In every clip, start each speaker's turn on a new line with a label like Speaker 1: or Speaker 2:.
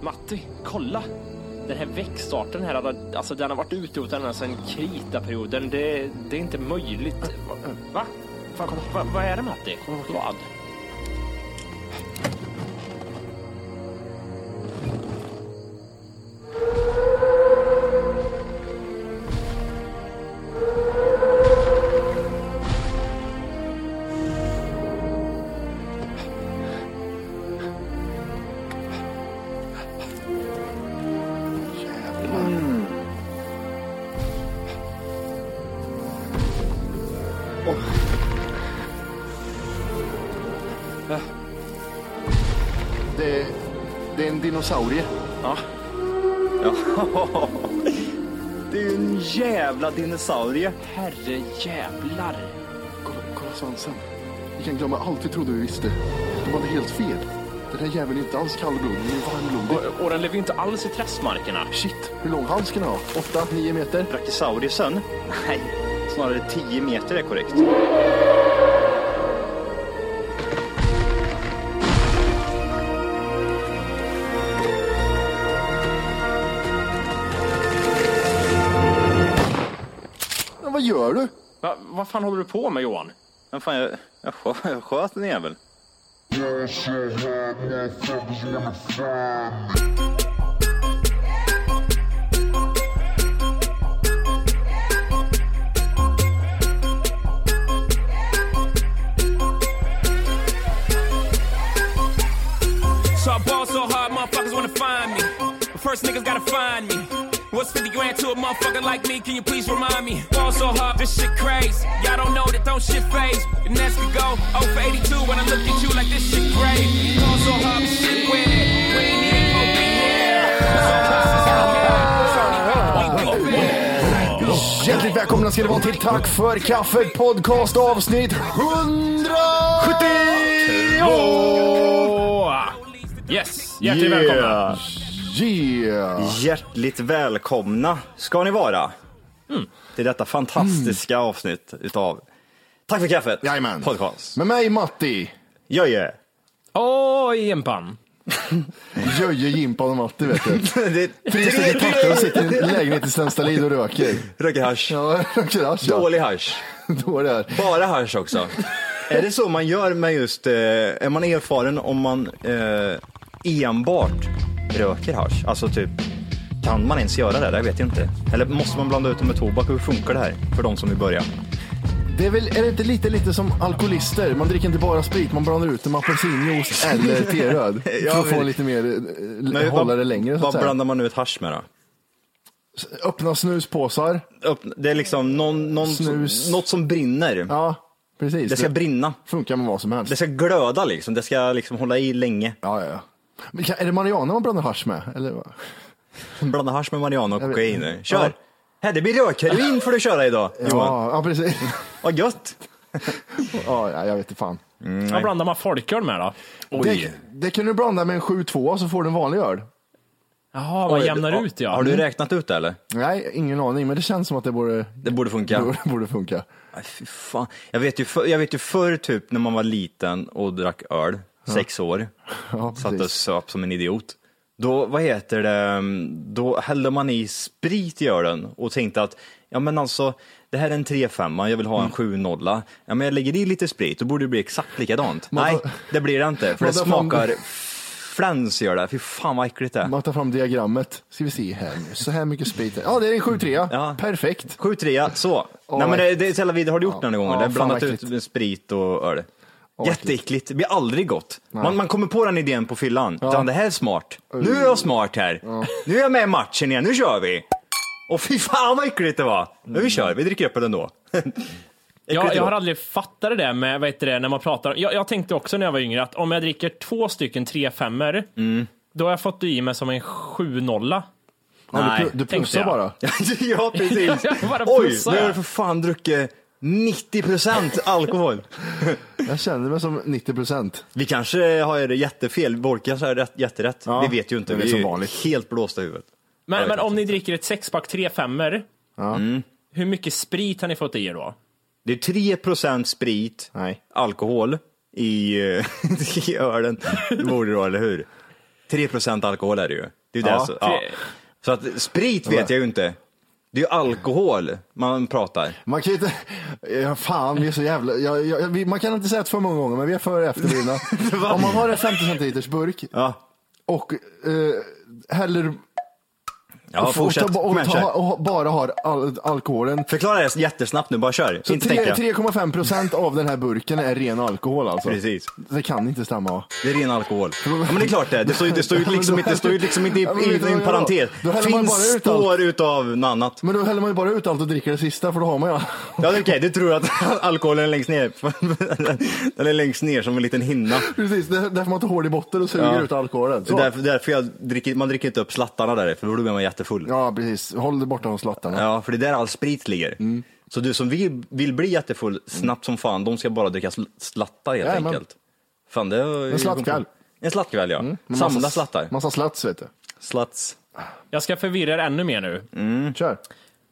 Speaker 1: Matti, kolla! Den här växtarten här, hade- alltså den har varit utrotad ända sedan kritaperioden. Det, det är inte möjligt. Va? Fan, kolla, va, vad är det Matti? Vad?
Speaker 2: Det, det är en dinosaurie.
Speaker 1: Ja. ja. Det är ju en jävla dinosaurie. Herre jävlar.
Speaker 2: Kolla, kolla svansen. Vi kan glömma allt vi trodde vi visste. De hade helt fel. Den här jäveln är inte alls kallblodig, den är varmblodig.
Speaker 1: Och, och den lever ju inte alls i träskmarkerna.
Speaker 2: Shit, hur lång hals kan den ha? Åtta, nio meter?
Speaker 3: Brachysaurusen? Nej, snarare 10 meter är korrekt.
Speaker 2: Men vad gör du?
Speaker 1: Va, vad fan håller du på med Johan?
Speaker 3: Men fan, jag, jag, skö- jag sköt en jävel.
Speaker 4: Jag kör här när fucking lämnar fan.
Speaker 5: So I ball so hard, motherfuckers wanna find me. But first, niggas gotta find me. What's 50 grand to a motherfucker like me? Can you please remind me? Ball so hard, this shit crazy. Y'all don't know that don't shit phase. And that's the go. 0 for 82 when I look at you like this shit crazy. Ball so hard, this shit weird. We ain't even gonna be here. So process out here. It's only we think big.
Speaker 2: Hjärtligt välkomna ska ni vara till Tack för kaffet podcast avsnitt 170!
Speaker 1: Yes, hjärtligt välkomna.
Speaker 2: Yeah!
Speaker 3: Hjärtligt välkomna ska ni vara till detta fantastiska avsnitt utav Tack för kaffet
Speaker 2: Jajamän.
Speaker 3: podcast.
Speaker 2: Med mig Matti,
Speaker 3: Jöje.
Speaker 1: Åh, Jempan.
Speaker 2: Jöje, Jimpan och Matti vet du.
Speaker 3: Det är
Speaker 2: Tre stycken
Speaker 3: tre
Speaker 2: pappor sitter i en lägenhet i Svenstavlid och röker.
Speaker 3: Röker hasch.
Speaker 2: Ja, röker hasch ja.
Speaker 3: Dålig hasch.
Speaker 2: Dålig här.
Speaker 3: Bara hasch också. är det så man gör med just, eh, är man erfaren om man eh, enbart röker hasch? Alltså typ, kan man ens göra det? Jag vet ju inte. Eller måste man blanda ut det med tobak? Hur funkar det här för de som vill börja?
Speaker 2: Det är väl, är det inte lite, lite som alkoholister? Man dricker inte bara sprit, man blandar ut det med apelsinjuice eller teröd.
Speaker 3: Ja,
Speaker 2: För att få
Speaker 3: men-
Speaker 2: lite mer,
Speaker 3: Men
Speaker 2: eh, hålla
Speaker 3: vad-
Speaker 2: det längre så att
Speaker 3: Vad
Speaker 2: säga.
Speaker 3: blandar man ut hasch med då?
Speaker 2: Öppna snuspåsar.
Speaker 3: Upp, det är liksom någon, någon,
Speaker 2: Snus.
Speaker 3: något som brinner.
Speaker 2: Ja, precis.
Speaker 3: Det ska brinna.
Speaker 2: funkar med vad som helst.
Speaker 3: Det ska glöda liksom. Det ska liksom hålla i länge.
Speaker 2: Ja, ja, ja. Men kan, är det marijuana man blandar hasch med? Eller? vad?
Speaker 3: Blanda hasch med marijuana och
Speaker 2: Jag vet-
Speaker 3: kokain.
Speaker 2: Ja.
Speaker 3: Kör! Här, det blir rökheroin får du köra idag Johan.
Speaker 2: Ja, ja, precis.
Speaker 3: Vad gött!
Speaker 2: Ja, ja, jag vet inte fan.
Speaker 1: Vad blandar man folköl med då?
Speaker 2: Det, det kan du blanda med en 7-2 så får du en vanlig öl.
Speaker 1: Jaha, man jämnar ut ja. Mm.
Speaker 3: Har du räknat ut det eller?
Speaker 2: Nej, ingen aning, men det känns som att det borde,
Speaker 3: Det borde funka.
Speaker 2: borde, borde funka.
Speaker 3: Aj, fy fan. Jag vet ju, för, jag vet ju förr typ när man var liten och drack öl, sex år,
Speaker 2: Ja,
Speaker 3: satt och
Speaker 2: precis.
Speaker 3: söp som en idiot. Då, vad heter det, då hällde man i sprit i ölen och tänkte att, ja men alltså, det här är en 3-5, jag vill
Speaker 2: Mm.
Speaker 3: ha en 7-0. Ja men jag lägger i lite sprit, då borde det bli exakt likadant.
Speaker 2: Man
Speaker 3: Nej,
Speaker 2: tar-
Speaker 3: det blir det inte, för
Speaker 2: Man
Speaker 3: det
Speaker 2: tar fram-
Speaker 3: smakar fläns gör det. Fy fan vad äckligt det är.
Speaker 2: Man tar fram diagrammet. Ska vi se här nu. Så här mycket sprit. Ja, det är en 7-3.
Speaker 3: Ja.
Speaker 2: Perfekt.
Speaker 3: 7-3 så.
Speaker 2: Åh,
Speaker 3: Nej men det, det är så jävla vidrigt. har du gjort
Speaker 2: Ja.
Speaker 3: den någon gång?
Speaker 2: Ja,
Speaker 3: det är
Speaker 2: fan
Speaker 3: blandat
Speaker 2: vad äckligt.
Speaker 3: ut med sprit och öl.
Speaker 2: vad äckligt.
Speaker 3: Jätteäckligt, det blir aldrig gott. Man, man kommer på den idén på fyllan.
Speaker 2: Ja.
Speaker 3: Utan det här är smart. Nu är jag smart här. Nu är jag med i matchen igen, nu kör vi. Och fy fan vad äckligt det var. Men vi kör, vi dricker upp den ändå.
Speaker 1: Jag,
Speaker 3: Äckligt
Speaker 1: jag har
Speaker 3: då.
Speaker 1: aldrig fattat det där med, vad heter det, när man pratar. Jag, jag tänkte också när jag var yngre att om jag dricker två stycken 3 5
Speaker 3: Mm.
Speaker 1: då har jag fått i mig som en 7 0
Speaker 2: Ja, du
Speaker 3: Nej,
Speaker 2: plu- du
Speaker 1: tänkte
Speaker 2: plussar
Speaker 1: jag.
Speaker 2: bara.
Speaker 3: ja precis.
Speaker 1: Jag bara
Speaker 3: Oj,
Speaker 1: pussar.
Speaker 3: nu har du för fan druckit 90% alkohol.
Speaker 2: Jag känner mig som 90 procent.
Speaker 3: Vi kanske har det jättefel, Bork kanske har rätt, jätterätt.
Speaker 2: Ja,
Speaker 3: vi vet ju inte,
Speaker 2: det är
Speaker 3: vi är
Speaker 2: som
Speaker 3: ju
Speaker 2: vanligt.
Speaker 3: helt blåsta i huvudet. Jag
Speaker 1: Men,
Speaker 3: vet
Speaker 1: men om
Speaker 3: inte.
Speaker 1: ni dricker ett sexpack 3 5 hur mycket sprit har ni fått i er då?
Speaker 3: Det är 3% sprit,
Speaker 2: Nej.
Speaker 3: alkohol i, eh, i ölen. Det borde det vara, eller hur? 3% alkohol är det ju. Det är ju
Speaker 2: Ja.
Speaker 3: det, så, ja. så att sprit vet jag ju inte. Det är ju alkohol man pratar.
Speaker 2: Man kan ju inte, ja, fan vi är så jävla, jag, jag, vi, man kan inte säga det för många gånger men vi är för efterblivna. Om man har en 50 centiliters burk
Speaker 3: Ja,
Speaker 2: och eh, häller
Speaker 3: ja
Speaker 2: och,
Speaker 3: fortsätt.
Speaker 2: ta- och,
Speaker 3: Kom igen,
Speaker 2: ta,
Speaker 3: kör.
Speaker 2: och bara har all, alkoholen.
Speaker 3: Förklara det jättesnabbt nu, bara kör.
Speaker 2: Så
Speaker 3: inte
Speaker 2: tre-
Speaker 3: tänka.
Speaker 2: 3,5 procent av den här burken är ren alkohol alltså.
Speaker 3: Precis.
Speaker 2: Det kan inte stämma.
Speaker 3: Det är ren alkohol. Ja, men det är klart det är. Det står ju- det står ju liksom inte, det står ju liksom inte i,
Speaker 2: Ja, men
Speaker 3: i,
Speaker 2: vet du
Speaker 3: i en
Speaker 2: vad jag
Speaker 3: parentes.
Speaker 2: då? Då häller man bara
Speaker 3: Finns
Speaker 2: ut allt.
Speaker 3: står utav något annat.
Speaker 2: Men då häller man ju bara ut allt och dricker det sista för då har man ju
Speaker 3: Ja, det är okej, du tror att alkoholen är längst ner. Den är längst ner som en liten hinna.
Speaker 2: Precis, det- därför man tar hål i botten och suger
Speaker 3: Ja.
Speaker 2: ut alkoholen.
Speaker 3: Det
Speaker 2: Så.
Speaker 3: är därför, därför jag dricker, man dricker inte upp slattarna där, för då blir man jättefull. Ja.
Speaker 2: Ja precis, håll dig borta från slattarna.
Speaker 3: för det är där all sprit ligger.
Speaker 2: Mm.
Speaker 3: Så du som vill, vill bli jättefull snabbt som fan, de ska bara dricka sl- slattar helt
Speaker 2: Jajamän.
Speaker 3: enkelt. Fan, det har-
Speaker 2: En slattkväll.
Speaker 3: En slattkväll ja.
Speaker 2: Men
Speaker 3: Samla
Speaker 2: massa-
Speaker 3: slattar.
Speaker 2: Massa slats vet du.
Speaker 3: Slats.
Speaker 1: Jag ska förvirra er ännu mer nu.
Speaker 3: Mm.
Speaker 2: Kör.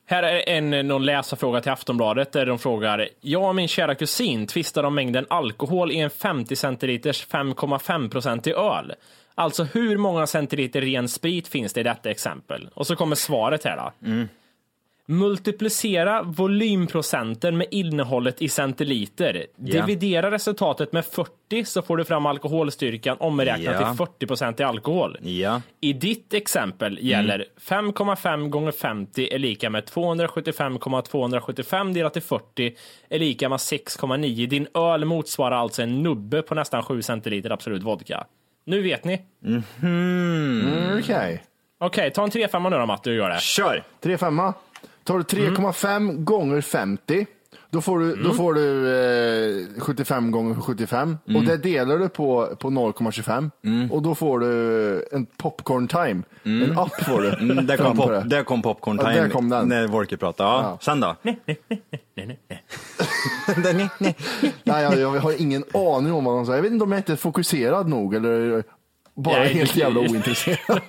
Speaker 1: Här är en, någon läsarfråga till Aftonbladet där de frågar. Jag och min kära kusin tvistar om mängden alkohol i en 50 centiliters 5,5 i öl. Alltså hur många centiliter ren sprit finns det i detta exempel? Och så kommer svaret här då. Multiplicera volymprocenten med innehållet i centiliter. Dividera resultatet med 40 så får du fram alkoholstyrkan omräknat
Speaker 3: Ja.
Speaker 1: till 40 i alkohol.
Speaker 3: Ja.
Speaker 1: I ditt exempel gäller 5,5 gånger 50 är lika med 275,275 delat till 40 är lika med 6,9. Din öl motsvarar alltså en nubbe på nästan 7 centiliter Absolut Vodka. Nu vet ni.
Speaker 2: Mm, Okej.
Speaker 1: Okej, ta en 3-5 nu då Matte och gör det.
Speaker 3: Kör!
Speaker 2: 3,5. Tar
Speaker 3: Mm.
Speaker 2: du 3,5 gånger 50, då får du,
Speaker 3: Mm.
Speaker 2: då får du eh, 75 gånger 75.
Speaker 3: Mm.
Speaker 2: Och det delar du på, på 0,25. Och då får du en popcorn time. En app får du.
Speaker 3: Mm, där, kom
Speaker 2: fram på
Speaker 3: pop,
Speaker 2: det.
Speaker 3: där kom popcorn
Speaker 2: Ja,
Speaker 3: time.
Speaker 2: där kom den.
Speaker 3: När Wolke pratade. Ja.
Speaker 2: Ja.
Speaker 3: Sen då? Den är- nej.
Speaker 2: Nej, jag, jag har ingen aning om vad de säger. Jag vet inte om jag inte är fokuserad nog eller bara
Speaker 1: Nej,
Speaker 2: helt
Speaker 1: det-
Speaker 2: jävla ointresserad.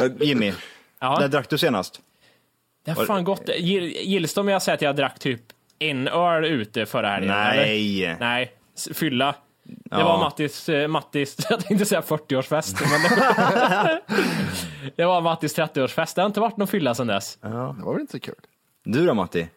Speaker 3: Eh, Jimmy,
Speaker 1: Ja.
Speaker 3: där drack du senast?
Speaker 1: Det har fan gott. Gill- Gills det om jag säger att jag drack typ en öl ute förra helgen? eller?
Speaker 3: Nej.
Speaker 1: Nej, s- fylla. Det
Speaker 3: Ja.
Speaker 1: var Mattis, eh, Mattis, jag tänkte säga 40-årsfest. Men det, det var Mattis 30-årsfest. Det har inte varit någon fylla sedan dess.
Speaker 2: Det var väl inte så kul.
Speaker 3: Du då Matti?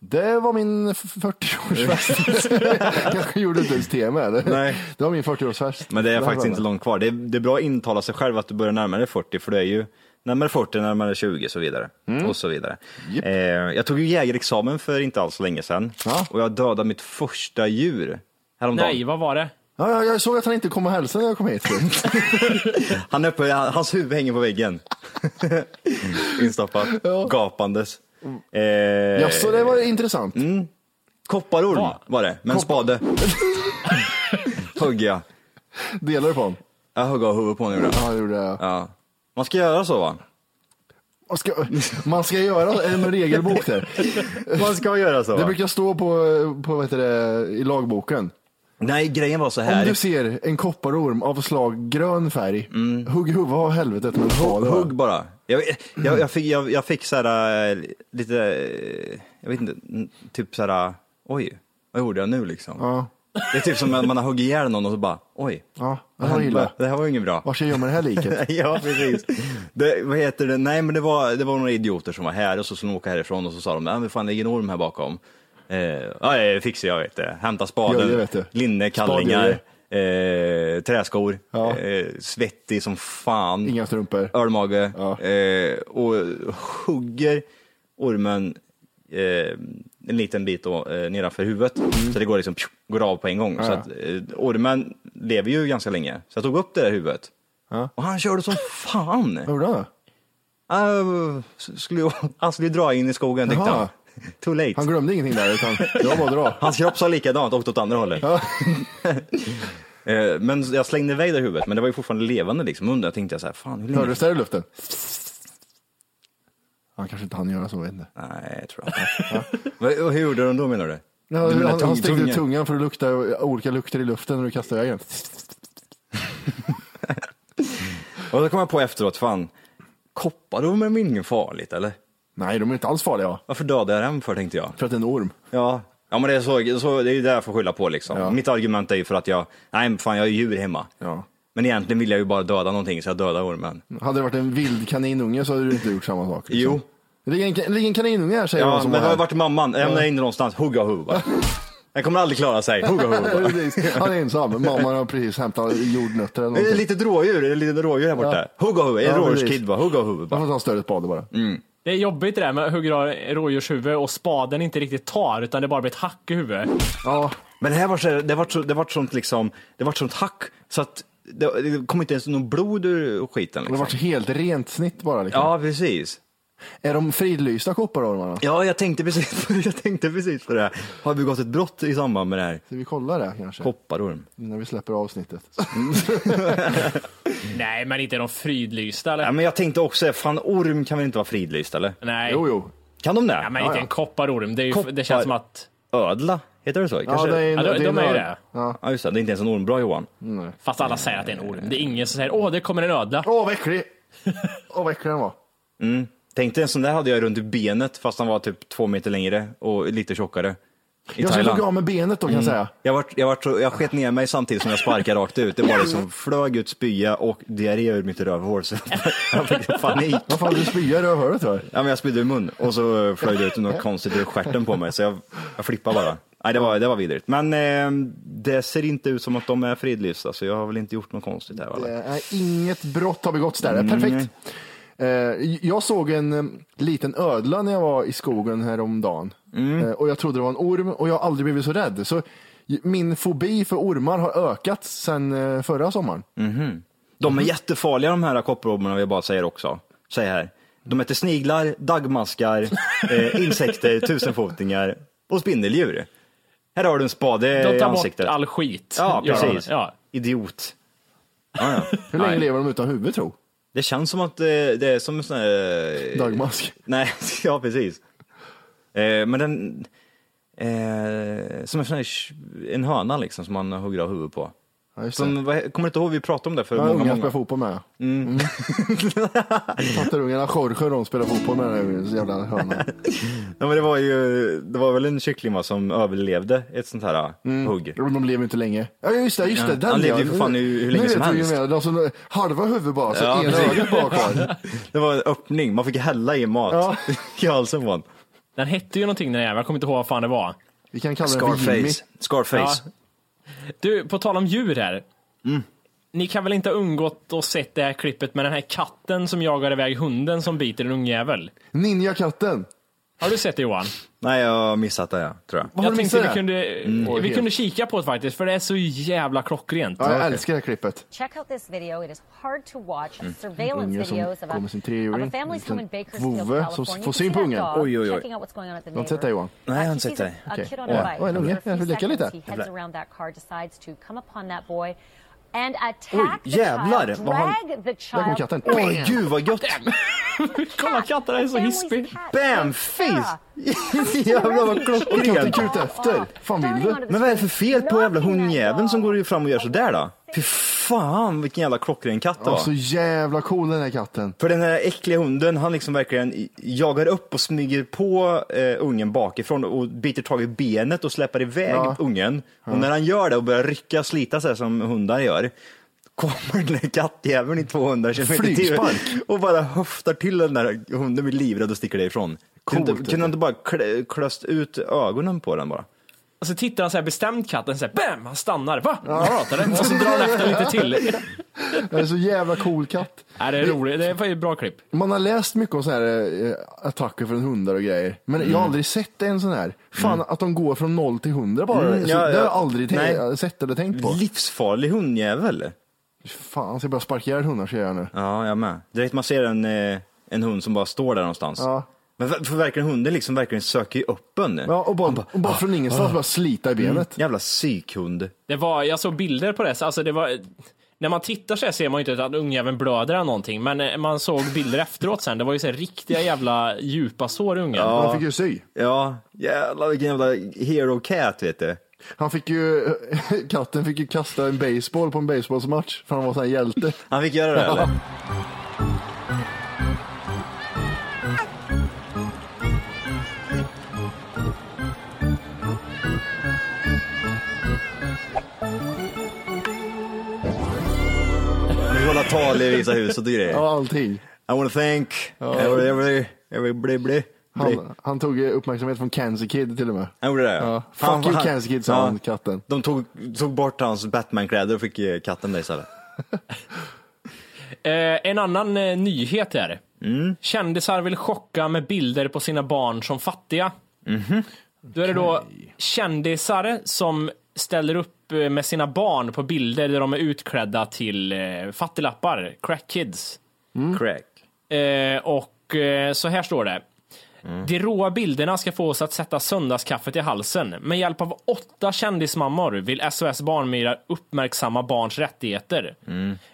Speaker 2: Det var min f- 40-årsfest. Kanske gjorde inte ens tema. eller?
Speaker 3: Nej.
Speaker 2: Det var min 40-årsfest.
Speaker 3: Men det är
Speaker 2: var
Speaker 3: faktiskt
Speaker 2: bra.
Speaker 3: inte långt kvar. Det är, det är bra att intala sig själv att du börjar närma dig 40, för du är ju närmare 40, närmare 20 och så vidare. Och så vidare.
Speaker 2: Japp.
Speaker 3: Eh, jag tog ju jägarexamen för inte alls så länge sedan
Speaker 2: Ja.
Speaker 3: och jag dödade mitt första djur häromdagen.
Speaker 1: Nej, vad var det?
Speaker 2: Ja, jag, jag såg att han inte kom och hälsade när jag kom hit.
Speaker 3: Han är uppe, han- hans huvud hänger på väggen. Mm. Instoppat, gapandes. Eh,
Speaker 2: ja, så det var intressant.
Speaker 3: Mm. Kopparorm
Speaker 1: Va?
Speaker 3: var det, med en spade. Högg jag.
Speaker 2: Delar du på honom?
Speaker 3: Jag högg av huvudet på honom. gjorde jag.
Speaker 2: Ja, det gjorde jag.
Speaker 3: Ja. Man ska göra så va?
Speaker 2: Man ska, man ska göra en regelbok där.
Speaker 3: Man ska göra så
Speaker 2: Det
Speaker 3: va?
Speaker 2: brukar stå på, på vad heter det, i lagboken.
Speaker 3: Nej, grejen var så
Speaker 2: Om
Speaker 3: här.
Speaker 2: du ser en kopparorm av slag grön färg, hugg huvudet av helvetet med en spade.
Speaker 3: Mm. Hugg bara. Jag, jag, jag fick, jag, jag fick så här, äh, lite, äh, jag vet inte, n- typ så här, äh, oj, vad gjorde jag nu liksom?
Speaker 2: Ja.
Speaker 3: Det är typ som när man har huggit ihjäl någon och så bara, oj,
Speaker 2: Ja, det
Speaker 3: vad
Speaker 2: här var
Speaker 3: hände?
Speaker 2: illa.
Speaker 3: Det här var ju inget bra.
Speaker 2: Var ska jag gömma det här liket?
Speaker 3: ja, precis. Det, vad heter det? Nej, men det var, det var några idioter som var här och så skulle de åka härifrån och så sa de, nej men fan det ligger en orm här bakom. Eh, ja, jag fixar jag vet det. Hämta
Speaker 2: Ja, det
Speaker 3: spaden,
Speaker 2: vet du.
Speaker 3: linne, kallingar, eh, träskor,
Speaker 2: Ja.
Speaker 3: eh, svettig som fan
Speaker 2: Inga strumpor.
Speaker 3: ölmage
Speaker 2: Ja.
Speaker 3: eh, och hugger ormen eh, en liten bit då, eh, nedanför huvudet. Så det går liksom pju, går av på en gång. Så
Speaker 2: Mm. Ja.
Speaker 3: att, eh, ormen lever ju ganska länge. Så jag tog upp det där huvudet.
Speaker 2: Ja.
Speaker 3: Och han körde som fan.
Speaker 2: Vad gjorde han då?
Speaker 3: Uh, skulle, han skulle dra in i skogen tyckte
Speaker 2: Jaha.
Speaker 3: han. Too late.
Speaker 2: Han glömde ingenting där, utan det var bara att dra.
Speaker 3: Hans kropp sa likadant, åkte åt andra hållet. Eh, men jag slängde iväg det huvudet, men det var ju fortfarande levande liksom. Undrar tänkte jag så här, fan hur länge
Speaker 2: Hördes det här i luften? Han kanske inte hann göra så, vet inte.
Speaker 3: Nej, jag tror jag inte. Och Hur gjorde de då menar du?
Speaker 2: Ja,
Speaker 3: Du
Speaker 2: han,
Speaker 3: menar
Speaker 2: han
Speaker 3: tung-
Speaker 2: stängde ut
Speaker 3: tunga?
Speaker 2: tungan för att lukta olika lukter i luften när du kastade iväg den.
Speaker 3: Och då kom jag på efteråt, fan, kopparormen är ju inget farligt eller?
Speaker 2: Nej, de är inte alls farliga.
Speaker 3: Varför dödade jag den för tänkte jag.
Speaker 2: För att det är en orm.
Speaker 3: Ja, ja men det är, så, så, det är ju det jag får skylla på liksom.
Speaker 2: Ja.
Speaker 3: Mitt argument är ju för att jag, nej men fan jag har ju djur hemma.
Speaker 2: Ja.
Speaker 3: Men egentligen vill jag ju bara döda någonting så jag dödar ormen.
Speaker 2: Hade det varit en vild kaninunge så hade du inte gjort samma sak. liksom.
Speaker 3: Jo.
Speaker 2: Det ligger en, det ligger en kaninunge här säger
Speaker 3: Ja,
Speaker 2: någon som
Speaker 3: men
Speaker 2: var
Speaker 3: var
Speaker 2: här.
Speaker 3: vart är mamman? Jag hamnar inne någonstans. Hugga huva. Den kommer aldrig klara sig. Hugga huva.
Speaker 2: Precis. Han är ensam. Mamman har precis hämtat jordnötter eller
Speaker 3: Det är
Speaker 2: någonting.
Speaker 3: lite rådjur, det är lite rådjur här borta. Hugga huva,
Speaker 2: Ja,
Speaker 3: en
Speaker 2: precis.
Speaker 3: rådjurskid bara. Hugga huva
Speaker 2: Man
Speaker 3: bara.
Speaker 2: får ta större spade bara.
Speaker 1: Det är jobbigt det där med att hugga rådjurshuvud och spaden inte riktigt tar utan det bara blir ett hack i huvudet.
Speaker 2: Ja,
Speaker 3: Men det här var så, det var så, det var sånt liksom, det var sånt hack så att det, det kom inte ens något blod ur skiten
Speaker 2: det har
Speaker 3: liksom.
Speaker 2: varit helt rent snitt bara. Liksom.
Speaker 3: Ja, precis.
Speaker 2: Är de fridlysta kopparormarna?
Speaker 3: Ja, jag tänkte precis på det. Jag tänkte precis på det. här. Har vi begått ett brott i samband med det här?
Speaker 2: Ska vi kolla det kanske?
Speaker 3: Kopparorm.
Speaker 2: Innan vi släpper avsnittet.
Speaker 1: Nej, men inte är de fridlysta eller?
Speaker 3: Ja, men jag tänkte också, fan orm kan väl inte vara fridlyst eller?
Speaker 1: Nej,
Speaker 2: Jo, jo.
Speaker 3: Kan de det?
Speaker 1: Ja, men inte en kopparorm. Det, är ju, det
Speaker 3: Koppar-
Speaker 1: känns som att...
Speaker 3: Ödla, heter det så?
Speaker 2: Ja,
Speaker 3: Kanske?
Speaker 2: det är,
Speaker 1: Ja, de-
Speaker 2: det
Speaker 1: de är ju
Speaker 2: nörd-
Speaker 1: det.
Speaker 2: Ja.
Speaker 3: Ja, just det. Det är inte ens en orm. Bra Johan.
Speaker 1: Fast alla säger att det är en orm. Det är ingen som säger åh, det kommer en ödla.
Speaker 2: Åh, vad äcklig! Åh, vad äcklig den var.
Speaker 3: Tänkte en sån där hade jag runt i benet fast han var typ två meter längre och lite tjockare. I
Speaker 2: Jag ska
Speaker 3: Thailand.
Speaker 2: hugga av med benet då kan jag säga.
Speaker 3: Jag, vart, jag, vart, så- jag sket ner mig samtidigt som jag sparkade rakt ut. Det var liksom flög ut spya och diarré ur mitt rövhål. Så jag fick panik.
Speaker 2: Vad fan, du spyr i rövhålet va?
Speaker 3: Ja, men jag spydde i mun och så flög det ut något konstigt ur stjärten på mig så jag, jag flippade bara. Nej, det var, det var vidrigt. Men eh, det ser inte ut som att de är fridlysta så jag har väl inte gjort något konstigt här.
Speaker 2: Det
Speaker 3: Eller?
Speaker 2: är Eh, inget brott har begåtts där. Det är perfekt. Eh, Jag såg en eh, liten ödla när jag var i skogen häromdagen. Eh, Och jag trodde det var en orm och jag har aldrig blivit så rädd. Så min fobi för ormar har ökat sedan eh, förra sommaren.
Speaker 3: De är jättefarliga de här kopparormarna vi bara säger också. Säg här. De äter sniglar, dagmaskar, eh, insekter, tusenfotingar och spindeldjur. Här har du en spade
Speaker 1: De
Speaker 3: i
Speaker 1: tar
Speaker 3: ansiktet.
Speaker 1: bort all skit.
Speaker 3: Ja,
Speaker 1: gör de.
Speaker 3: precis.
Speaker 1: Ja.
Speaker 3: Idiot. Ja, Ah, ja.
Speaker 2: Hur länge lever de utan huvud tro?
Speaker 3: Det känns som att eh, det är som en sån här... eh,
Speaker 2: Dagmask.
Speaker 3: Nej, ja precis. Eh, men den... Eh, som en sån här, sh- en höna liksom som man hugger av huvudet på.
Speaker 2: Ja, just det.
Speaker 3: Som, vad, kommer du inte ihåg, vi pratade om det för
Speaker 2: Jag har
Speaker 3: många,
Speaker 2: ungar
Speaker 3: många...
Speaker 2: spelar fotboll med. Mm. Tattarungarna Jorge och de spelar fotboll med den här jävla hönan.
Speaker 3: Ja, men det var ju, det var väl en kyckling va, som överlevde ett sånt här mm. hugg.
Speaker 2: Jo, De lever ju inte länge. Ja just det, just det.
Speaker 3: Ja,
Speaker 2: Den
Speaker 3: han levde ju
Speaker 2: ja.
Speaker 3: för fan hur- hur länge
Speaker 2: nu
Speaker 3: som
Speaker 2: vet vi ju
Speaker 3: helst.
Speaker 2: mer. De som halva huvudet bara, så
Speaker 3: Ja,
Speaker 2: ena
Speaker 3: precis.
Speaker 2: ögat bara kvar.
Speaker 3: Det var en öppning, man fick hälla i mat
Speaker 2: Ja.
Speaker 3: i halsen på honom.
Speaker 1: Den hette ju någonting den där jäveln. jag kommer inte ihåg vad fan det var.
Speaker 2: Vi kan kalla den för Jimmy.
Speaker 3: Scarface. Scarface.
Speaker 1: Du, på tal om djur här.
Speaker 2: Mm.
Speaker 1: Ni kan väl inte ha undgått att sett det här klippet med den här katten som jagar iväg hunden som biter en ungjävel?
Speaker 2: Ninjakatten.
Speaker 1: Har du sett det Johan?
Speaker 3: Nej, jag har missat det ja, tror jag.
Speaker 2: Vad har
Speaker 1: Jag
Speaker 2: du
Speaker 1: tänkte
Speaker 2: missat Mm.
Speaker 1: vi
Speaker 2: det?
Speaker 1: kunde,
Speaker 2: Oj,
Speaker 1: vi
Speaker 2: helt.
Speaker 1: kunde kika på det faktiskt, för det är så jävla klockrent.
Speaker 2: Ja, jag älskar det här klippet.
Speaker 6: Check out this video. It is hard to watch. Surveillance
Speaker 2: Unge Mm. som
Speaker 6: videos of a,
Speaker 2: går med sin
Speaker 6: of
Speaker 2: treåring.
Speaker 6: a family's home in Bakersfield,
Speaker 2: Vovve som
Speaker 6: California.
Speaker 2: får
Speaker 6: You
Speaker 2: syn
Speaker 6: can
Speaker 2: på
Speaker 6: see
Speaker 2: ungen.
Speaker 6: that dog
Speaker 3: Oj, oj, oj.
Speaker 6: Checking out what's going on at the
Speaker 2: Har du sett det
Speaker 6: neighbor.
Speaker 2: Johan?
Speaker 3: Nej, jag har inte
Speaker 6: He
Speaker 3: sett
Speaker 6: sees
Speaker 3: det.
Speaker 6: a- a
Speaker 2: Okej.
Speaker 6: kid on
Speaker 2: Åh,
Speaker 6: a bike.
Speaker 2: åh, en unge.
Speaker 6: For a few
Speaker 2: Jag vill leka lite.
Speaker 6: seconds, He heads
Speaker 3: Jävlar.
Speaker 6: around that car, decides to come upon that boy and attack the
Speaker 3: jävlar,
Speaker 6: child,
Speaker 3: vad han-
Speaker 6: drag the
Speaker 2: Där kom
Speaker 6: child.
Speaker 2: katten.
Speaker 3: Åh gud vad gött!
Speaker 1: Kolla katten är så hispig.
Speaker 3: Bam! Face! Jävlar vad klockrent!
Speaker 2: Katten kut efter. Fan vill du?
Speaker 3: Men vad är det för fel på jävla hundjäveln som går fram och gör sådär då? Fy fan vilken jävla klockren katt
Speaker 2: Ja,
Speaker 3: det var.
Speaker 2: så jävla cool den här katten.
Speaker 3: För den här äckliga hunden, han liksom verkligen jagar upp och smyger på eh, ungen bakifrån och biter tag i benet och släpar iväg
Speaker 2: Ja.
Speaker 3: ungen. Och när han gör det och börjar rycka och slita sig som hundar gör, kommer den här kattjäveln i 200 km i timmen
Speaker 2: Flygspark.
Speaker 3: och bara höftar till den där hunden blir livrädd och sticker därifrån.
Speaker 2: Coolt,
Speaker 3: kunde, kunde han inte bara klä, klöst ut ögonen på den bara?
Speaker 1: Och så tittar han så här bestämt katten, så här, bam, han stannar. Va? Han pratar Och så drar han efter lite till.
Speaker 2: Det är så jävla cool katt.
Speaker 1: Nej, det är roligt, det är ett bra klipp.
Speaker 2: Man har läst mycket om sådana här eh, attacker från hundar och grejer. Men jag
Speaker 3: Mm.
Speaker 2: har aldrig sett en sån här. Fan att de går från noll till hundra bara.
Speaker 3: Mm,
Speaker 2: så,
Speaker 3: ja,
Speaker 2: Det har jag
Speaker 3: ja.
Speaker 2: aldrig tänkt,
Speaker 3: Nej.
Speaker 2: sett eller tänkt på.
Speaker 3: Livsfarlig hundjävel.
Speaker 2: Fan, ska jag bara sparka ihjäl hundar ska jag göra nu.
Speaker 3: Ja, jag med. Direkt man ser en, eh, en hund som bara står där någonstans.
Speaker 2: Ja.
Speaker 3: Men ver- för verkligen hunden liksom verkligen söker ju upp en.
Speaker 2: Ja, och bara,
Speaker 3: Han ah,
Speaker 2: och bara från ingenstans bara slita i benet.
Speaker 3: Jävla psykhund.
Speaker 1: Det var, jag såg bilder på det, så alltså det var, när man tittar så här ser man ju inte att ungjäveln blöder eller någonting, men eh, man såg bilder efteråt sen, det var ju så här riktiga jävla djupa sår i ungen.
Speaker 2: Han fick ju sy.
Speaker 3: Ja, jävlar vilken jävla hero cat vet du.
Speaker 2: Han fick ju, katten fick ju kasta en baseball på en baseballsmatch för han var sån här hjälte.
Speaker 3: Han fick göra det eller? massa tal i vissa huset och grejer.
Speaker 2: Ja, allting.
Speaker 3: I wanna thank every, every, every bli, bli, bli.
Speaker 2: Han, han tog ju uppmärksamhet från Cancer Kid till och med.
Speaker 3: Han gjorde det?
Speaker 2: Ja. Fuck you Cancer Kid, sa han, katten.
Speaker 3: De tog, tog bort hans Batman-kläder och fick eh, katten det istället.
Speaker 1: Eh, en annan eh, nyhet här. Kändisar vill chocka med bilder på sina barn som fattiga. Då är det då kändisar som ställer upp eh, med sina barn på bilder där de är utklädda till eh, fattiglappar, crack kids.
Speaker 2: Mm.
Speaker 3: Crack.
Speaker 1: Eh, och eh, så här står det. De råa bilderna ska få oss att sätta söndagskaffet i halsen. Med hjälp av åtta kändismammor vill SOS Barnmyra uppmärksamma barns rättigheter.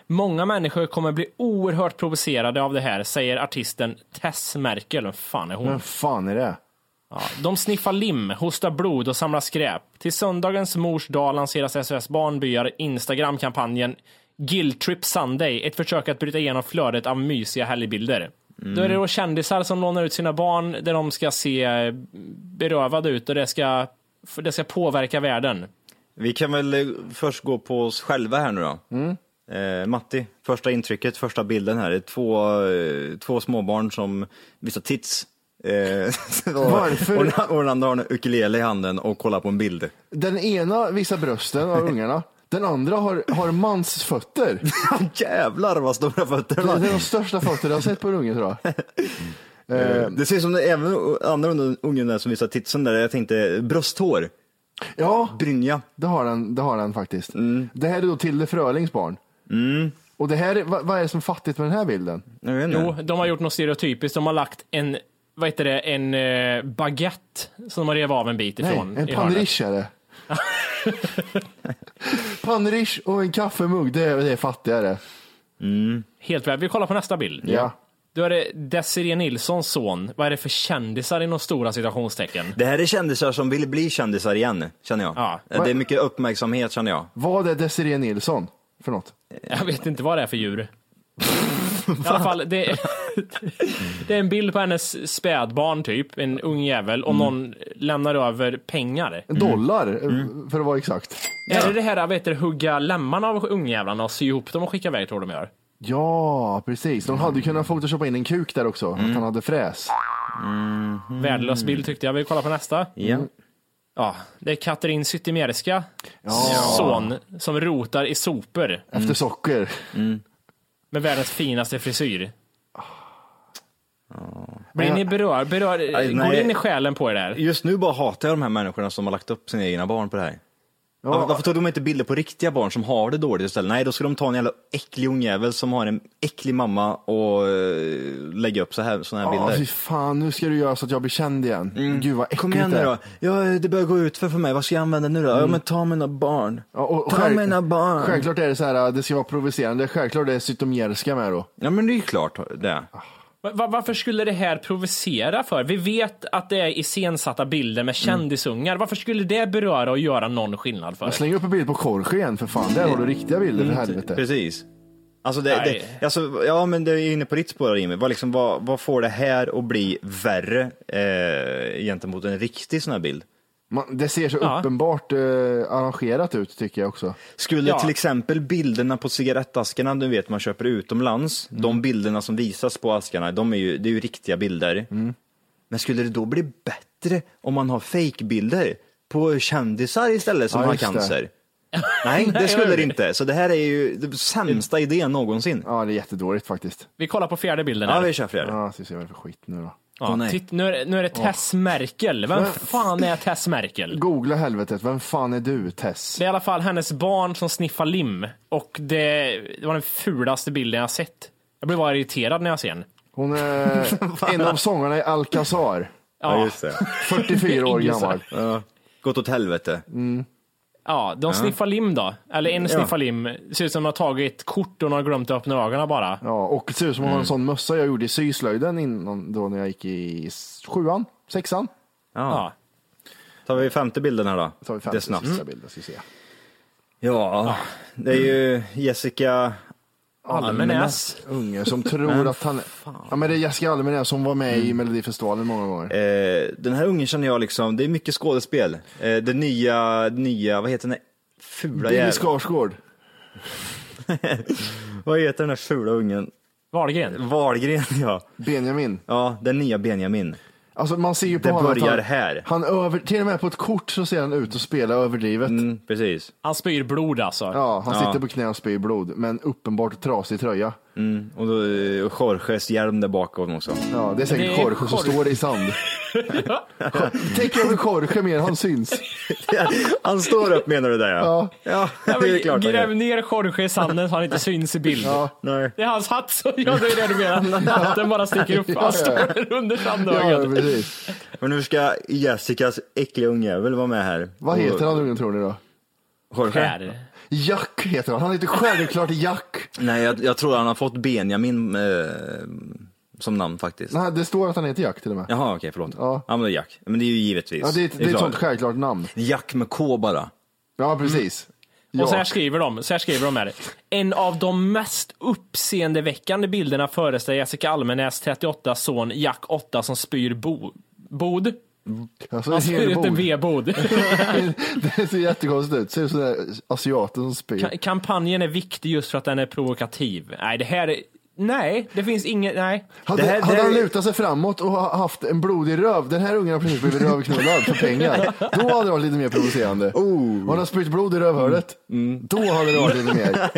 Speaker 1: Många människor kommer bli oerhört provocerade av det här, säger artisten Tess Merkel. Vem fan är hon?
Speaker 2: Vem fan är det?
Speaker 1: Ja, de sniffar lim, hostar blod och samlar skräp. Till söndagens mors dag lanseras SOS Barnbyar Instagram-kampanjen Guilt Trip Sunday, ett försök att bryta igenom flödet av mysiga helgbilder. Då är det då kändisar som lånar ut sina barn där de ska se eh, berövade ut och det ska, för det ska påverka världen.
Speaker 3: Vi kan väl eh, först gå på oss själva här nu då.
Speaker 2: Mm.
Speaker 3: Eh, Matti, första intrycket, första bilden här. Det är två, eh, två småbarn som visar tits. Eh, och-
Speaker 2: Varför?
Speaker 3: Och, den- och den andra har en ukulele i handen och kollar på en bild.
Speaker 2: Den ena visar brösten av ungarna. Den andra har, har mans fötter.
Speaker 3: Jävlar vad stora fötter
Speaker 2: Det
Speaker 3: man.
Speaker 2: är de största fötter jag har sett på en unge tror jag. Eh,
Speaker 3: Det ser ut som det, även andra ungen- ungen där som visar titsen där, jag tänkte brösthår,
Speaker 2: Ja,
Speaker 3: brynja.
Speaker 2: det har den, det har den faktiskt. Det här är då Tilde Frölings barn. Och det här, är- vad, vad är det som är fattigt med den här bilden?
Speaker 3: Jag vet inte.
Speaker 1: Jo, de har gjort något stereotypiskt. De har lagt en, vad heter det, en eh, baguette som de rev av en bit
Speaker 2: Nej,
Speaker 1: ifrån.
Speaker 2: en
Speaker 1: i hörnet.
Speaker 2: panrish är det. panrish och en kaffemugg, det är, det är fattigare.
Speaker 1: Helt väl. Vi kollar på nästa bild.
Speaker 2: Ja.
Speaker 1: Då är det Desiree Nilssons son. Vad är det för kändisar inom stora citationstecken?
Speaker 3: Det här är kändisar som vill bli kändisar igen, känner jag. Eh,
Speaker 1: Ja.
Speaker 3: Det är mycket uppmärksamhet känner jag.
Speaker 2: Vad är Desiree Nilsson för något?
Speaker 1: Jag vet inte vad det är för djur. I alla fall, det är, det är en bild på hennes spädbarn typ, en ung jävel, och någon lämnar över pengar.
Speaker 2: En dollar,
Speaker 1: Mm.
Speaker 2: för att vara exakt.
Speaker 1: Är det det här vet du, hugga lemmarna av ungjävlarna och sy ihop dem och skicka iväg tror de gör?
Speaker 2: Ja, precis. De hade ju kunnat photoshoppa in en kuk där också,
Speaker 1: Mm.
Speaker 2: att han hade fräs.
Speaker 1: Värdelös bild tyckte jag. Vi kollar på nästa.
Speaker 3: Ja.
Speaker 1: Ja, det är Katrin Zytomierska son som rotar i sopor
Speaker 3: Mm.
Speaker 2: Efter socker.
Speaker 1: med världens finaste frisyr. Blir ni berör, berör,
Speaker 3: Aj,
Speaker 1: går
Speaker 3: nej.
Speaker 1: det in i själen på er där?
Speaker 3: Just nu bara hatar jag de här människorna som har lagt upp sina egna barn på det här. Varför, varför tog de inte bilder på riktiga barn som har det dåligt istället? Nej, då ska de ta en jävla äcklig ungjävel som har en äcklig mamma och eh, lägga upp så här, såna här
Speaker 2: Ja, fy
Speaker 3: bilder. Mm.
Speaker 2: fan, nu ska du göra så att jag blir känd igen. Gud vad äckligt
Speaker 3: Kom igen
Speaker 2: det
Speaker 3: nu
Speaker 2: är. Mm.
Speaker 3: då. Ja, det börjar gå ut för, för mig. Vad ska jag använda nu då? Ja, men ta mina barn.
Speaker 2: Ja, och, och
Speaker 3: ta
Speaker 2: själv-
Speaker 3: mina barn.
Speaker 2: Självklart är det så här, det ska vara provocerande. Självklart är det Zytomierska med då.
Speaker 3: Ja, men det är ju klart det.
Speaker 2: Ah,
Speaker 1: Va- va- varför skulle det här provocera för? Vi vet att det är iscensatta bilder
Speaker 3: Mm.
Speaker 1: med kändisungar. Varför skulle det beröra och göra någon skillnad för?
Speaker 2: Jag
Speaker 3: Alltså-
Speaker 2: slänger upp en bild på Korsi igen för fan. Där har du riktiga bilder för helvete.
Speaker 3: Mm. Precis. Alltså det,
Speaker 1: Nej.
Speaker 3: det, alltså, ja men det är inne på ditt spår Jimmy. Vad, liksom, vad, vad får det här att bli värre eh, gentemot en riktig sån här bild?
Speaker 2: Man, det ser så
Speaker 1: Ja.
Speaker 2: uppenbart eh, arrangerat ut tycker jag också.
Speaker 3: Skulle
Speaker 1: Ja.
Speaker 3: till exempel bilderna på cigarettaskarna, du vet man köper utomlands, de bilderna som visas på askarna, de är ju, det är ju riktiga bilder. Men skulle det då bli bättre om man har fake-bilder på kändisar istället som
Speaker 2: Ja,
Speaker 3: har
Speaker 2: just det.
Speaker 3: cancer? Nej, det skulle det inte. Så det här är ju den sämsta idén någonsin.
Speaker 2: Ja, det är jättedåligt faktiskt.
Speaker 1: Vi kollar på fjärde bilden.
Speaker 3: Ja,
Speaker 1: här.
Speaker 3: vi kör fler.
Speaker 2: Ja, ska vi se vad det är för skit nu då.
Speaker 1: Ja,
Speaker 3: Åh, nej.
Speaker 1: titt, nu, är, det- nu är det Tess Merkel. Vem fan är Tess Merkel?
Speaker 2: Googla helvetet, vem fan är du Tess?
Speaker 1: Det är i alla fall hennes barn som sniffar lim. Och det, det var den fulaste bilden jag sett. Jag blev bara irriterad när jag ser den.
Speaker 2: Hon är en av sångarna i Alcazar.
Speaker 3: Ja, just det.
Speaker 2: 44 år
Speaker 1: Ingen sa-
Speaker 2: gammal.
Speaker 3: Gått åt helvete.
Speaker 1: Ja, de sniffar lim då. Eller en sniffar lim. Ser ut som de har tagit kort och de har glömt att öppna ögonen bara.
Speaker 2: Ja, och det ser ut som
Speaker 3: Mm.
Speaker 2: hon har en sån mössa jag gjorde i syslöjden innan, då när jag gick i sjuan, sexan.
Speaker 1: Ja.
Speaker 3: Tar vi femte bilden här då?
Speaker 2: Då tar vi
Speaker 3: det
Speaker 2: femte
Speaker 3: är snabbt. Mm.
Speaker 2: sista bilden, ska vi se.
Speaker 3: Ja, det är ju Jessica
Speaker 1: Almenäs.
Speaker 2: Unge som tror att han... Ja men det är Jessica Almenäs som var med
Speaker 3: Mm.
Speaker 2: i Melodifestivalen många gånger.
Speaker 3: Eh, den här ungen känner jag liksom, det är mycket skådespel. Eh, det nya, nya, vad heter den? här Fula
Speaker 2: Billy
Speaker 3: jävla-
Speaker 2: Skarsgård.
Speaker 3: Vad heter den där fula ungen?
Speaker 1: Wahlgren.
Speaker 3: Wahlgren ja.
Speaker 2: Benjamin.
Speaker 3: Ja, den nya Benjamin.
Speaker 2: Alltså man ser ju på
Speaker 3: Det
Speaker 2: honom
Speaker 3: börjar
Speaker 2: att han,
Speaker 3: här.
Speaker 2: Han över, till och med på ett kort så ser han ut att spela överdrivet.
Speaker 3: Mm, precis.
Speaker 1: Han spyr blod alltså.
Speaker 2: Ja, han
Speaker 3: Ja.
Speaker 2: sitter på knä och spyr blod, men uppenbart trasig tröja.
Speaker 3: Och då eh, Jorges hjälm där bakom också.
Speaker 2: Ja, det är
Speaker 1: Det
Speaker 3: Mm.
Speaker 2: säkert
Speaker 1: är
Speaker 2: Jorge som
Speaker 1: Jorge.
Speaker 2: står i sand. Tänk över Jorge mer, han syns.
Speaker 3: Han står upp menar du där ja? Ja,
Speaker 1: Ja,
Speaker 3: det
Speaker 1: men
Speaker 3: är klart han
Speaker 1: Gräv
Speaker 3: gör.
Speaker 1: ner Jorge i sanden så han inte syns i bild.
Speaker 3: Nej.
Speaker 1: Det är hans hatt som gör det, är det du menar. Hatten bara sticker upp. Han står där under
Speaker 2: Ja,
Speaker 1: sandögat.
Speaker 2: precis.
Speaker 3: Men nu ska Jessicas äckliga ungjävel vara med här.
Speaker 2: Vad heter han ungen tror ni då?
Speaker 3: Jorge?
Speaker 1: Här.
Speaker 2: Jack heter han, han heter självklart Jack.
Speaker 3: Nej, jag, jag tror han har fått Benjamin eh, som namn faktiskt.
Speaker 2: Nej, det står att han heter Jack till och med.
Speaker 3: Jaha, okej, förlåt. Ja.
Speaker 2: Ja.
Speaker 3: men det är Jack. Men det är ju givetvis.
Speaker 2: Ja, det är, ett- det är ett
Speaker 3: klart.
Speaker 2: sånt självklart namn.
Speaker 3: Jack med K bara.
Speaker 2: Ja, precis.
Speaker 1: Och så här
Speaker 2: Ja.
Speaker 1: skriver de, så här skriver de här. En av de mest uppseendeväckande bilderna föreställer Jessica Almenäs 38 son Jack 8 som spyr bo, bod.
Speaker 2: Alltså,
Speaker 1: Han
Speaker 2: en hel
Speaker 1: spyr ut en
Speaker 2: bok.
Speaker 1: vedbod.
Speaker 2: Det ser jättekonstigt ut, ser ut som den där asiaten som spyr.
Speaker 1: Ka- Kampanjen är viktig just för att den är provokativ. Nej, det här är... Nej, det finns inget... Nej.
Speaker 2: Hade,
Speaker 3: Det här- det
Speaker 2: hade
Speaker 3: här
Speaker 2: han
Speaker 3: är-
Speaker 2: lutat sig framåt och ha- haft en blodig röv, den här ungen har precis blivit rövknullad för pengar. Då hade det varit lite mer provocerande. Oh. Har han spytt blod i rövhålet,
Speaker 3: Mm.
Speaker 2: då hade det varit lite mer.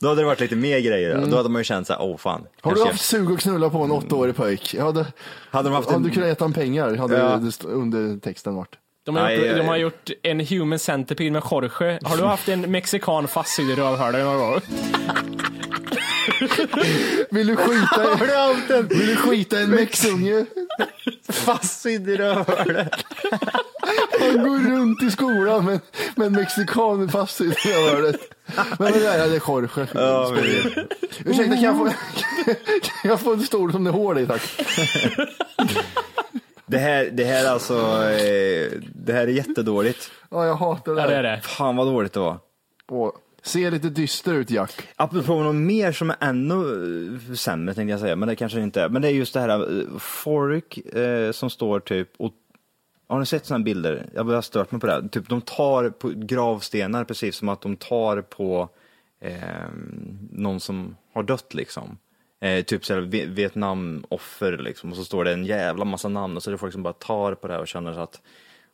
Speaker 3: Då hade det varit lite mer grejer. Då hade man ju känt såhär, åh oh, fan.
Speaker 2: Mm. Har du
Speaker 3: Kanske-
Speaker 2: haft sug att knulla på en åttaårig pojk? Ja, det,
Speaker 3: Hade de haft
Speaker 2: hade
Speaker 3: en-
Speaker 2: du kunnat gett honom pengar, hade
Speaker 3: Ja.
Speaker 2: det st- under texten varit.
Speaker 1: De har,
Speaker 3: Nej,
Speaker 1: gjort,
Speaker 3: jag-
Speaker 1: de har gjort en human centipede med Jorge. Har du haft en mexikan fastsydd i rövhålet någon gång?
Speaker 2: Vill du skita i, vill du skita i en mexunge?
Speaker 3: fastsydd i rövhålet.
Speaker 2: Han går runt i skolan med, med en mexikan fastsydd i rövhålet. Men det där hade Jorge.
Speaker 3: Ja, Oh. men-
Speaker 2: Ursäkta, kan jag, få, kan jag få en stol som det är hål i tack?
Speaker 3: det, här, det här alltså, eh, det här är jättedåligt.
Speaker 2: Ja, jag hatar det
Speaker 1: Ja,
Speaker 2: här.
Speaker 1: det är det.
Speaker 3: Fan vad dåligt det var.
Speaker 2: Åh, ser lite dyster ut Jack.
Speaker 3: Apropå något mer som är ännu eh, sämre tänkte jag säga, men det kanske det inte är. Men det är just det här eh, folk eh, som står typ och har ni sett sådana bilder? Jag har stört mig på det. här. Typ de tar på gravstenar precis som att de tar på eh, någon som har dött liksom. Eh, typ såhär Vi- Vietnamoffer liksom. Och så står det en jävla massa namn och så är det folk som bara tar på det här och känner så att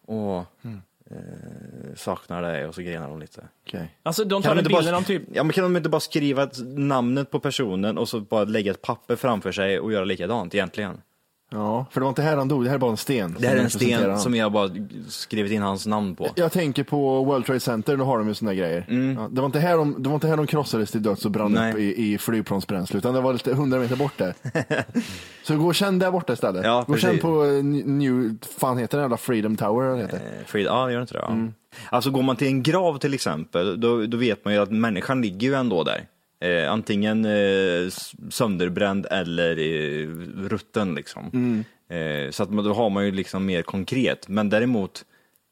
Speaker 3: åh, eh, saknar dig och så grenar de lite.
Speaker 1: Alltså de tar
Speaker 3: Kan
Speaker 1: en
Speaker 3: de, inte
Speaker 1: bild
Speaker 3: bara,
Speaker 1: när de typ...
Speaker 3: ja, men kan de inte bara skriva ett- namnet på personen och så bara lägga ett papper framför sig och göra likadant egentligen?
Speaker 2: Ja, för det var inte här han dog, det här är bara en sten.
Speaker 3: Det här är
Speaker 2: som
Speaker 3: en
Speaker 2: representerar
Speaker 3: sten
Speaker 2: han.
Speaker 3: som jag bara skrivit in hans namn på.
Speaker 2: Jag tänker på World Trade Center, då har de ju såna grejer. Ja, det, var inte här de, det var inte här de krossades till döds och brann
Speaker 3: Mm. Nej.
Speaker 2: upp i, i flygplansbränsle, utan det var lite hundra meter bort där. Så gå och känn där borta istället.
Speaker 3: Ja,
Speaker 2: gå och känn
Speaker 3: precis.
Speaker 2: på eh, New, fan heter den jävla Freedom Tower? Den heter.
Speaker 3: Eh, Frid, ja, det gör inte det. Ja. Alltså går man till en grav till exempel, då, då vet man ju att människan ligger ju ändå där. Eh, antingen eh, s- sönderbränd eller eh, rutten liksom. Eh, så att man, då har man ju liksom mer konkret. Men däremot,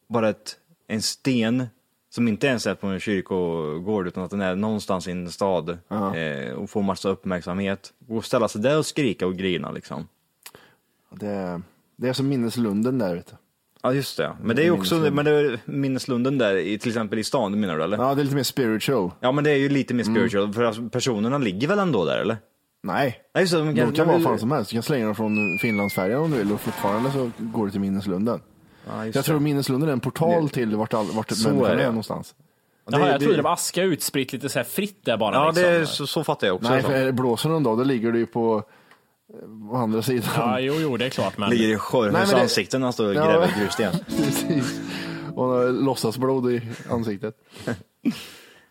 Speaker 3: bara ett, en sten som inte ens är på en kyrkogård utan att den är någonstans i en stad eh, och får massa uppmärksamhet. Och ställa sig där och skrika och grina liksom.
Speaker 2: Det, det är som minneslunden där ute.
Speaker 3: Ja just det, men det är ju också men det är minneslunden där i, till exempel i stan menar du eller?
Speaker 2: Ja, Mm. det är lite mer spiritual.
Speaker 3: Ja men det är ju lite mer spiritual, för alltså, personerna ligger väl ändå där eller?
Speaker 2: Nej,
Speaker 3: Nej, just det, de
Speaker 2: de kan vara fan som helst. Du kan slänga dem från Finlandsfärjan om du vill och fortfarande så går det till minneslunden.
Speaker 3: Ja, just
Speaker 2: Jag tror
Speaker 3: det.
Speaker 2: Minneslunden är en portal till vart, all, vart
Speaker 3: Så
Speaker 2: människan
Speaker 3: är
Speaker 2: är,
Speaker 3: det.
Speaker 2: någonstans.
Speaker 1: Jaha, jag
Speaker 3: det-
Speaker 1: trodde det var aska utspritt lite så här fritt där bara.
Speaker 3: Ja,
Speaker 1: liksom.
Speaker 3: det, är- så, så fattar jag också.
Speaker 2: Nej,
Speaker 3: Så.
Speaker 2: för är det blåser någon dag, då ligger du ju på, på andra sidan.
Speaker 1: ja jo, jo, det är klart. Men...
Speaker 3: Ligger i
Speaker 2: Nej,
Speaker 3: Sjörhöjs
Speaker 2: men det-
Speaker 3: ansikte när han står och
Speaker 2: Ja.
Speaker 3: gräver i grussten.
Speaker 2: Precis. Och låtsasblod i ansiktet.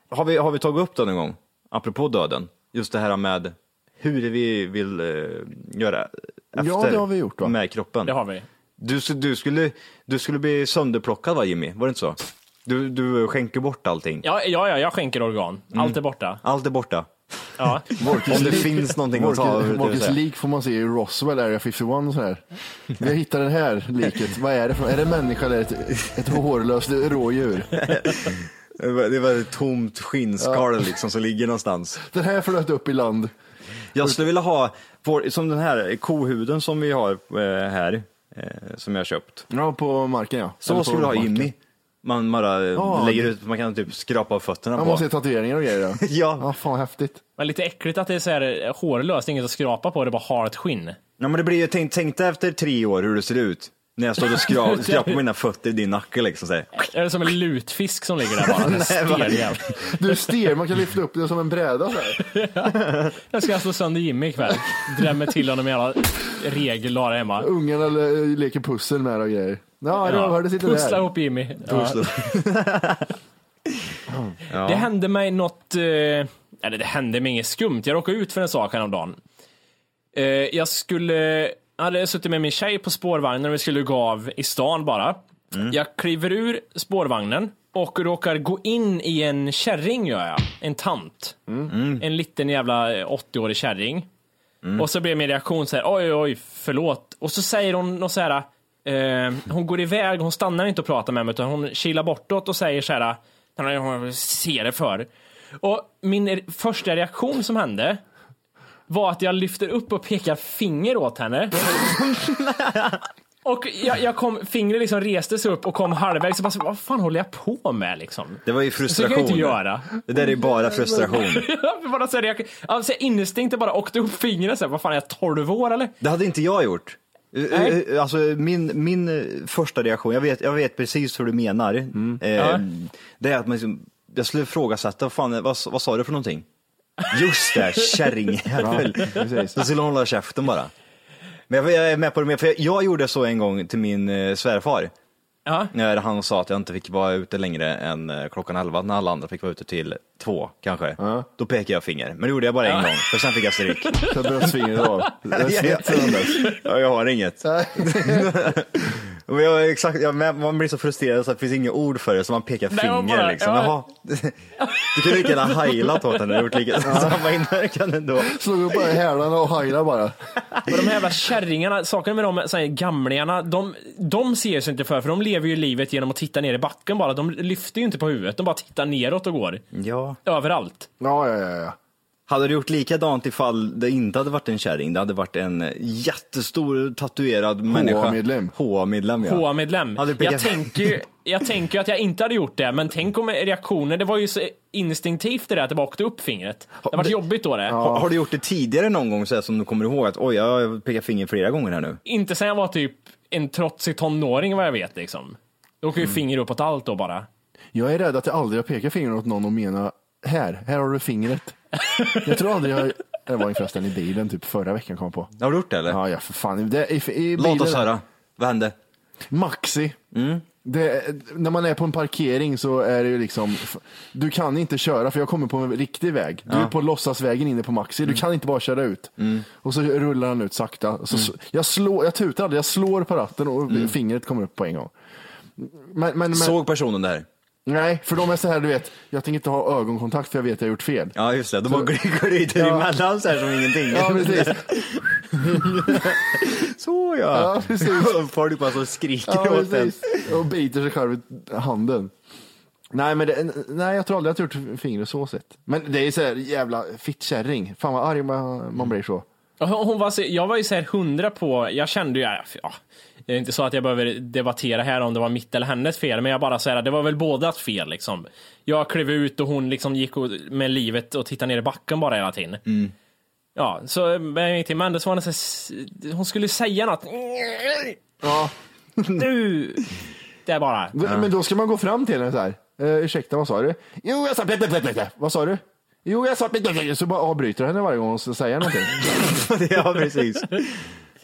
Speaker 3: Har vi, har vi tagit upp det någon gång? Apropå döden. Just det här med hur vi vill eh, göra efter
Speaker 2: Ja, det har vi gjort, va?
Speaker 3: med kroppen.
Speaker 1: Det har vi.
Speaker 3: Du, sk- du, skulle, du skulle bli sönderplockad va Jimmy? Var det inte så? Du, du skänker bort allting.
Speaker 1: Ja, ja, ja jag skänker organ.
Speaker 3: Mm.
Speaker 1: Allt är borta.
Speaker 3: Allt är borta.
Speaker 1: Ja.
Speaker 3: Om det finns någonting att ta.
Speaker 2: Morkes-
Speaker 3: det vill
Speaker 2: Morkes
Speaker 3: säga.
Speaker 2: lik får man se i Roswell Area 51 och sådär. Vi hittar det här liket. Vad är det för Är det en människa eller ett, ett hårlöst rådjur?
Speaker 3: Det var- det var ett tomt skinnskal liksom som ligger någonstans.
Speaker 2: Den här flöt upp i land.
Speaker 3: Jag skulle vilja ha, vår, som den här kohuden som vi har eh, här, eh, som jag har köpt.
Speaker 2: Ja, på marken ja.
Speaker 3: Så
Speaker 2: Eller på
Speaker 3: skulle du ha
Speaker 2: marken.
Speaker 3: Jimmy. Man bara eh,
Speaker 2: Ja.
Speaker 3: lägger ut, man kan typ skrapa av fötterna
Speaker 2: Man
Speaker 3: på.
Speaker 2: måste ju tatueringar och grejer då.
Speaker 3: Ja.
Speaker 2: ja. Fan häftigt.
Speaker 1: Men lite äckligt att det är så här eh, hårlöst, inget att skrapa på, det är bara hart skinn.
Speaker 3: Ja, men det blir ju, tänk, tänk dig efter tre år hur det ser ut. När jag står och skrapar skrapar mina fötter i din nacke liksom. Så här.
Speaker 1: Är det som en lutfisk som ligger där bara? Stel jävel.
Speaker 2: Du är stel, man kan lyfta upp det som en bräda så här.
Speaker 1: Jag ska slå sönder Jimmy ikväll. Drämmer till honom med alla regel du har hemma.
Speaker 2: Ungen eller, eh, leker pussel med det och grejer. Ja, det hörde sitter
Speaker 1: Pussla
Speaker 2: där.
Speaker 1: ihop Jimmy. Ja.
Speaker 3: Pussla.
Speaker 1: Det hände mig något, eh, eller det hände mig inget skumt. Jag råkade ut för en sak häromdagen. Eh, jag skulle, jag hade suttit med min tjej på spårvagnen och vi skulle gå av i stan bara.
Speaker 2: Mm.
Speaker 1: Jag kliver ur spårvagnen och råkar gå in i en kärring gör jag. En tant.
Speaker 2: Mm.
Speaker 1: En liten jävla eh, 80-årig kärring. Och så blir min reaktion så här, oj, oj, oj, förlåt. Och så säger hon något så här, eh, hon går iväg, hon stannar inte och pratar med mig, utan hon kilar bortåt och säger så här, "Nej, hon ser det för. Och min re- första reaktion som hände var att jag lyfter upp och pekar finger åt henne. Och jag, jag kom, fingret liksom reste sig upp och kom halvvägs och bara, så, vad fan håller jag på med liksom?
Speaker 3: Det var ju
Speaker 1: Så kan jag
Speaker 3: frustration.
Speaker 1: inte göra.
Speaker 3: Det där är bara frustration.
Speaker 1: bara så här, jag, alltså, instinkten bara åkte upp fingrarna såhär, vad fan är jag 12 år eller?
Speaker 3: Det hade inte jag gjort. Eh,
Speaker 1: Nej.
Speaker 3: eh, Alltså min, min eh, första reaktion, jag vet, jag vet precis hur du menar. Eh,
Speaker 1: Mm. Ja.
Speaker 3: Det är att man liksom, jag skulle ifrågasätta, vad, fan, vad, vad sa du för någonting? Just det, kärringjävel.
Speaker 2: precis.
Speaker 3: Så skulle hon hålla käften bara. Men jag, jag är med på det, mer, för jag, jag gjorde så en gång till min eh, svärfar.
Speaker 1: Ja.
Speaker 3: När han sa att jag inte fick vara ute längre än eh, klockan elva, när alla andra fick vara ute till två kanske. Då pekade jag finger, men det gjorde jag bara en gång, för sen fick jag stryk.
Speaker 2: Så bröstfingret av. Det är snett sedan dess.
Speaker 3: Ja, jag har inget. Men jag, är exakt, jag, men man blir så frustrerad så att det finns inga ord för det, så man pekar
Speaker 1: Nej,
Speaker 3: finger
Speaker 1: man bara-
Speaker 3: liksom.
Speaker 1: ja.
Speaker 3: Jaha. Du kunde lika gärna hajlat åt henne och gjort lika, samma inverkan ändå.
Speaker 2: Slog upp bara hälarna och hajlar bara.
Speaker 1: Men de här jävla kärringarna, saken med de så här, gamlingarna, de, de ser sig inte för, för de lever ju livet genom att titta ner i backen bara. De lyfter ju inte på huvudet, de bara tittar neråt och går.
Speaker 3: Ja.
Speaker 1: Överallt.
Speaker 2: Ja, ja, ja. ja.
Speaker 3: Hade du gjort likadant ifall det inte hade varit en kärring, det hade varit en jättestor tatuerad människa.
Speaker 2: HA-medlem.
Speaker 3: HA-medlem ja.
Speaker 1: HA-medlem.
Speaker 3: Hade du
Speaker 1: Jag
Speaker 3: pekat-
Speaker 1: tänker ju jag tänker ju att jag inte hade gjort det, men tänk om reaktionen, det var ju så instinktivt det där att det bara åkte upp fingret. Det har varit
Speaker 3: det-
Speaker 1: jobbigt då det.
Speaker 3: Har, har du gjort det tidigare någon gång så här, som du kommer ihåg att oj, jag har pekat finger flera gånger här nu?
Speaker 1: Inte sen jag var typ en trotsig tonåring vad jag vet liksom. Då
Speaker 3: Mm.
Speaker 1: åker ju finger uppåt allt då bara.
Speaker 2: Jag är rädd att jag aldrig har pekat fingret åt någon och menar här, här har du fingret. Jag tror aldrig jag... Det var ju förresten i bilen typ förra veckan kom jag på.
Speaker 3: Har du gjort det eller?
Speaker 2: Ja, ja för fan. Det, i, i bilen,
Speaker 3: Låt oss höra. Vad hände?
Speaker 2: Maxi. Det, när man är på en parkering så är det ju liksom, du kan inte köra för jag kommer på en riktig väg. Du är på låtsasvägen inne på Maxi, du kan inte bara köra ut. Och så rullar han ut sakta. Så, så, jag, slår, jag tutar aldrig, jag slår på ratten och fingret kommer upp på en gång. Men, men, men,
Speaker 3: Såg personen där?
Speaker 2: Nej, för de är så här, du vet, jag tänker inte ha ögonkontakt för jag vet att jag har gjort fel.
Speaker 3: Ja just det, de bara gl- glider
Speaker 2: Ja.
Speaker 3: emellan så här som ingenting.
Speaker 2: Ja, precis.
Speaker 3: Så
Speaker 2: Ja,
Speaker 3: ja.
Speaker 2: precis.
Speaker 3: Folk bara så skriker
Speaker 2: Ja,
Speaker 3: åt en.
Speaker 2: precis. Och biter sig själv i handen. Nej, men det, nej, jag tror aldrig att jag har gjort fingret så sett. Men det är så här jävla fittkärring. Fan vad arg man, man blir så.
Speaker 1: Och Hon hon var, så- jag var ju såhär hundra på, jag kände ju, ja, ja, det är inte så att jag behöver debattera här om det var mitt eller hennes fel, men jag bara såhär, det var väl bådas fel liksom. Jag klev ut och hon liksom gick och, med livet och tittade ner i backen bara hela tiden.
Speaker 3: Mm.
Speaker 1: Ja, så men jag gick till Amanda så var hon så här, s- hon skulle säga något.
Speaker 2: Ja.
Speaker 1: Nu! Det är bara.
Speaker 2: D- Men då ska man gå fram till henne så här. Eh, ursäkta, vad sa du? Jo, jag sa blä, blä, blä, blä, blä. Vad sa du? Jo, jag sa blä, blä, blä. Så bara avbryter henne varje gång hon ska säga någonting.
Speaker 3: ja precis.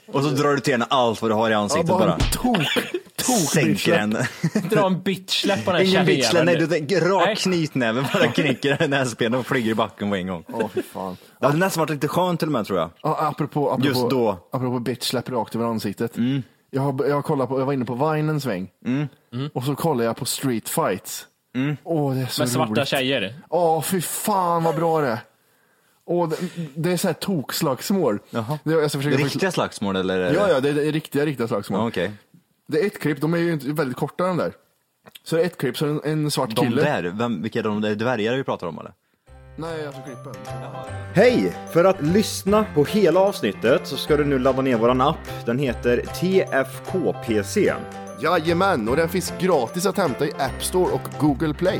Speaker 3: Och så drar du till henne allt vad du har i
Speaker 2: Ja,
Speaker 3: ansiktet
Speaker 2: bara
Speaker 3: bara.
Speaker 2: en tok, tok
Speaker 3: Sänker henne.
Speaker 1: Dra en bitchsläpp på den här
Speaker 3: Ingen
Speaker 1: kärringjäveln.
Speaker 3: bitchlen, nej du tänker
Speaker 1: Nej.
Speaker 3: rak knytnäve bara knycker henne näsbenen och flyger i backen på en gång.
Speaker 2: Åh, fy fan.
Speaker 3: Det hade nästan varit lite skönt till och med tror jag.
Speaker 2: Ja, apropå, apropå,
Speaker 3: Just då. Mm.
Speaker 2: apropå bitch släpper rakt över ansiktet. Jag, har, jag, har kollat på, jag var inne på Vine en sväng och så kollade jag på Street Fights.
Speaker 3: Mm.
Speaker 2: Åh, det är så
Speaker 1: Mm. Med svarta
Speaker 2: roligt.
Speaker 1: tjejer.
Speaker 2: Ja, fy fan vad bra det är. Åh, det, det är så här tokslagsmål.
Speaker 3: Jaha.
Speaker 2: Det, jag ska försöka
Speaker 3: Riktiga slagsmål eller? är det-
Speaker 2: Ja, ja, det är, det är riktiga, riktiga slagsmål.
Speaker 3: Ja, Okej.
Speaker 2: Det är ett klipp, de är ju inte- väldigt korta de där. Så det är ett klipp, så är det en, en svart
Speaker 3: De
Speaker 2: kille.
Speaker 3: där, vem, vilka är de där dvärgar vi pratar om eller?
Speaker 2: Nej, alltså klippen.
Speaker 3: Hej! För att lyssna på hela avsnittet så ska du nu ladda ner våran app. Den heter TFKPC.
Speaker 2: Jajamän, och den finns gratis att hämta i App Store och Google Play.